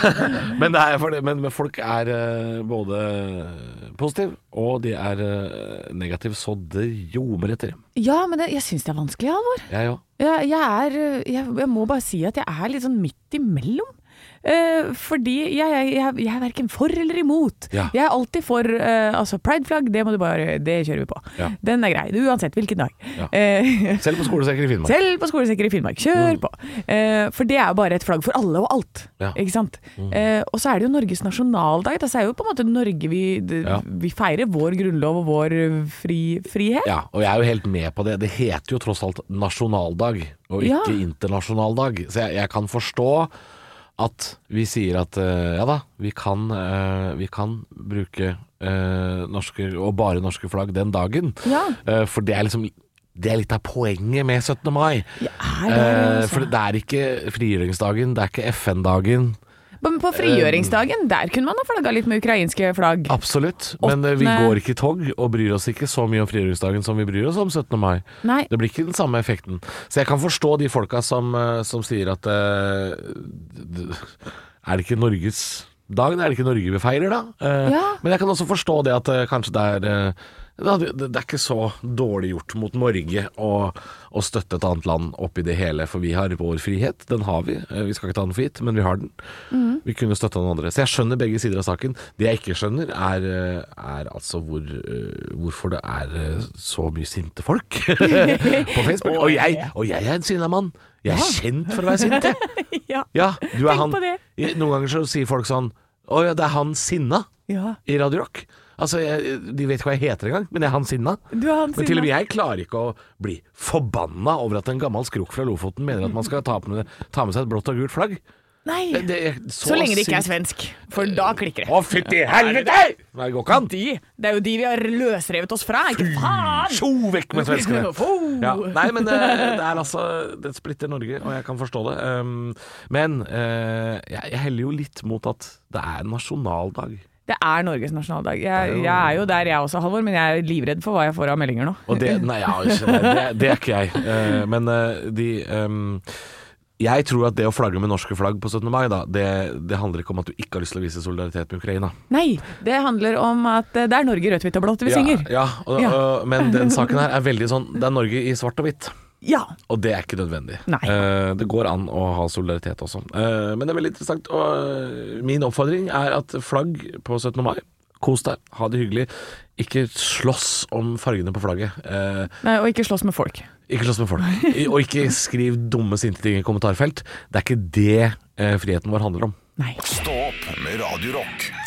[SPEAKER 4] men, det er for det, men men folk er eh, både positive og de er eh, negative, så det ljomer etter.
[SPEAKER 3] Ja, men det, jeg syns det er vanskelig, Halvor.
[SPEAKER 4] Jeg òg.
[SPEAKER 3] Jeg, jeg er eh, jeg, jeg må bare si at jeg er litt sånn midt imellom. Eh, fordi jeg, jeg, jeg, jeg er verken for eller imot.
[SPEAKER 4] Ja.
[SPEAKER 3] Jeg er alltid for eh, altså prideflagg, det må du bare Det kjører vi på.
[SPEAKER 4] Ja.
[SPEAKER 3] Den er grei. Uansett hvilken dag.
[SPEAKER 4] Ja.
[SPEAKER 3] Eh, [LAUGHS]
[SPEAKER 4] Selv på skolesekker i Finnmark.
[SPEAKER 3] Selv på skolesekker i Finnmark. Kjør på! Eh, for det er jo bare et flagg for alle og alt.
[SPEAKER 4] Mm. Ja. Mm.
[SPEAKER 3] Ikke sant? Eh, og så er det jo Norges nasjonaldag. Da, så er det jo på en måte Norge vi, det,
[SPEAKER 4] Ja.
[SPEAKER 3] vi feirer vår grunnlov og vår eh, fri, frihet.
[SPEAKER 4] Ja, og jeg er jo helt med på det. Det heter jo tross alt nasjonaldag, og
[SPEAKER 3] Ja.
[SPEAKER 4] ikke internasjonaldag. Så jeg, jeg kan forstå at vi sier at eh, ja da, vi kan, eh, vi kan bruke eh, norske, og bare norske flagg den dagen.
[SPEAKER 3] Ja.
[SPEAKER 4] Eh, for det er liksom det er litt av poenget med 17. mai.
[SPEAKER 3] Ja, er det det,
[SPEAKER 4] Eh,
[SPEAKER 3] altså?
[SPEAKER 4] for det er ikke frigjøringsdagen, det er ikke FN-dagen.
[SPEAKER 3] Men på frigjøringsdagen, der kunne man ha flagga litt med ukrainske flagg.
[SPEAKER 4] Absolutt, men eh, vi
[SPEAKER 3] Åttende-
[SPEAKER 4] går ikke i tog og bryr oss ikke så mye om frigjøringsdagen som vi bryr oss om 17. mai.
[SPEAKER 3] Nei.
[SPEAKER 4] Det blir ikke den samme effekten. Så jeg kan forstå de folka som, eh, som sier at eh, d- Er det ikke Norges dag? Er det ikke Norge vi feirer, da? [LAUGHS] Eh,
[SPEAKER 3] Ja.
[SPEAKER 4] Men jeg kan også forstå det at eh, kanskje det er eh, det er- det er ikke så dårlig gjort mot Norge å, å støtte et annet land oppi det hele, for vi har vår frihet. Den har vi. Eh, Vi skal ikke ta den for gitt, men vi har den.
[SPEAKER 3] Mm.
[SPEAKER 4] Vi kunne støtta noen andre. Så jeg skjønner begge sider av saken. Det jeg ikke skjønner, er, eh, er altså hvor, eh, hvorfor det er eh, så mye sinte folk [LAUGHS] på Facebook. Og jeg, og jeg er en sinna mann. Jeg er kjent for å være sint. jeg.
[SPEAKER 3] Ja.
[SPEAKER 4] Ja, du er
[SPEAKER 3] Tenk
[SPEAKER 4] han.
[SPEAKER 3] på det.
[SPEAKER 4] Ja, Noen ganger så sier folk sånn Å ja, det er han sinna
[SPEAKER 3] Ja.
[SPEAKER 4] i Radio Rock. Altså, jeg, De vet ikke hva jeg heter engang, men jeg er han sinna.
[SPEAKER 3] Du er han
[SPEAKER 4] Men til og med
[SPEAKER 3] sinna.
[SPEAKER 4] jeg klarer ikke å bli forbanna over at en gammel skrok fra Lofoten mener at man skal ta med, ta med seg et blått og gult flagg.
[SPEAKER 3] Nei.
[SPEAKER 4] Det, det er så,
[SPEAKER 3] Så lenge det ikke er
[SPEAKER 4] sint.
[SPEAKER 3] svensk, for da klikker det.
[SPEAKER 4] Å, fytti helvete! Nei, det går ikke an.
[SPEAKER 3] De, det er jo de vi har løsrevet oss fra, ikke faen!
[SPEAKER 4] Tjo vekk med
[SPEAKER 3] [LAUGHS]
[SPEAKER 4] svenskene!
[SPEAKER 3] Fo!
[SPEAKER 4] Ja. Nei, men eh, det er altså Det splitter Norge, og jeg kan forstå det. Um, men eh, jeg, jeg heller jo litt mot at det er en nasjonaldag.
[SPEAKER 3] Det er Norges nasjonaldag. Jeg, jeg er jo der jeg også, Halvor, men jeg er livredd for hva jeg får av meldinger nå.
[SPEAKER 4] Og det, nei, ja, ikke, nei, det, det er ikke jeg. Eh, men eh, de ehm, Jeg tror at det å flagge med norske flagg på 17. mai, da, det, det handler ikke om at du ikke har lyst til å vise solidaritet med Ukraina.
[SPEAKER 3] Nei, det handler om at eh, det er Norge rødt, hvitt og blått vi synger.
[SPEAKER 4] Ja, ja, og,
[SPEAKER 3] Ja.
[SPEAKER 4] og- men den saken her er veldig sånn Det er Norge i svart og hvitt.
[SPEAKER 3] Ja.
[SPEAKER 4] Og det er ikke nødvendig.
[SPEAKER 3] Nei.
[SPEAKER 4] Eh, det går an å ha solidaritet også. Eh, men det er veldig interessant. Og eh, min oppfordring er at flagg på 17. mai Kos deg, ha det hyggelig. Ikke slåss om fargene på flagget. Eh,
[SPEAKER 3] Nei, og ikke slåss med folk.
[SPEAKER 4] ikke slåss med folk. I- Og ikke skriv dumme, sinte ting i kommentarfelt. Det er ikke det eh, friheten vår handler om.
[SPEAKER 3] Nei.
[SPEAKER 2] Stå opp med Radio Rock.